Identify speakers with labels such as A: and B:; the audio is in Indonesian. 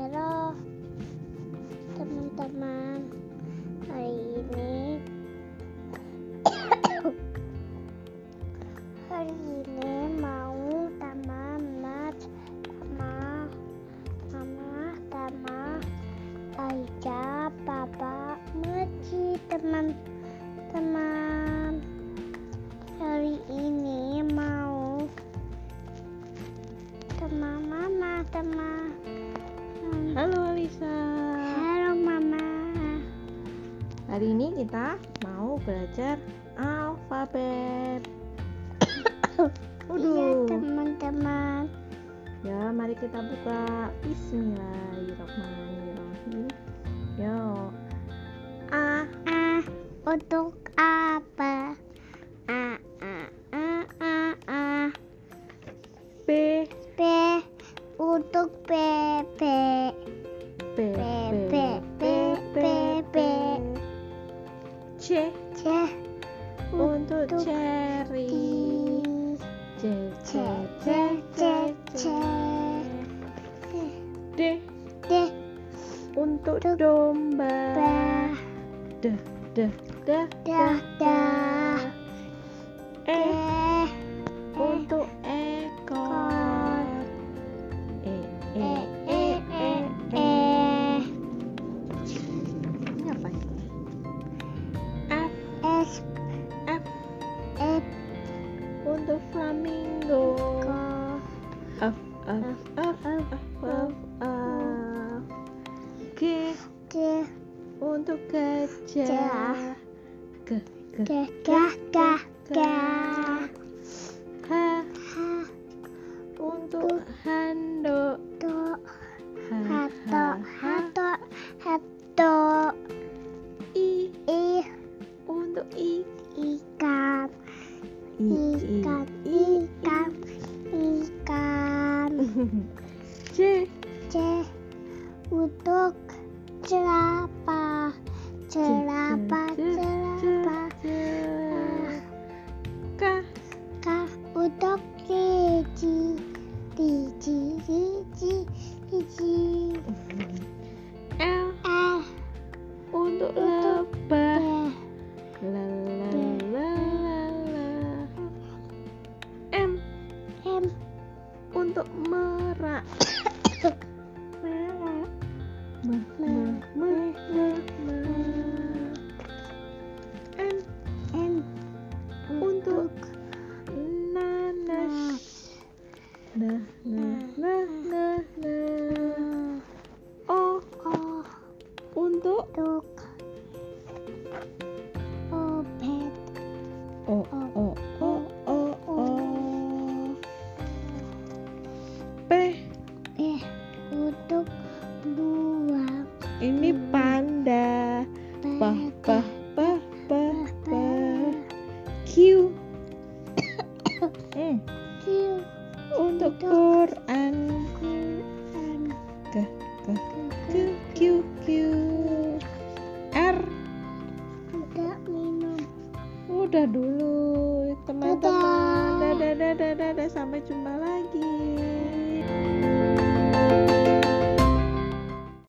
A: Karine mau tama mat tama mama tama Aja papa Mochi teman-teman hari ini mau teman mama teman
B: Halo Alisa.
A: halo mama
B: Hari ini kita mau belajar alfabet.
A: iya
B: Waduh.
A: teman-teman
B: Ya, mari kita buka Bismillahirrahmanirrahim. Yo. A.
A: A Ah, untuk apa? Ah, A A A A A
B: B.
A: B untuk bebek
B: B. B.
A: B, B, B, B.
B: C.
A: C
B: Untuk
A: Untuk
B: cherry.
A: I
B: C. C.
A: C C C
B: C.
A: C
B: D.
A: D
B: Untuk
A: Untuk
B: domba.
A: B
B: D. D. D.
A: D D E
B: E.
A: untuk
B: untuk ekor e
A: E E E E
B: Ini apa itu f
A: S E,
B: f
A: F
B: untuk flamingo
A: K
B: f f f f f f g
A: D
B: untuk
A: Gajah.
B: gajah g g
A: Gah, gah, gah, gah.
B: h untuk handuk
A: Hato,
B: h
A: hato,
B: h
A: hato, hato.
B: i
A: I,
B: untuk i
A: ikan,
B: i i
A: ikan, ikan, ikan.
B: J
A: C, untuk jerapah, jerapah, jerapah.
B: K
A: K, untuk keji, keji, keji, keji.
B: L
A: L,
B: untuk
A: Untuk
B: lebah
A: B,
B: la la la la la M
A: M,
B: untuk merak
A: merah.
B: me, me, me, me, me. N
A: M
B: untuk nanas nah nah nah nah nah O untuk
A: untuk obat
B: O O O O O P
A: eh untuk buang
B: ini panda pah pah pah pah pah Q Mm, untuk Quran K K Q Q Q R
A: tidak minum
B: udah dulu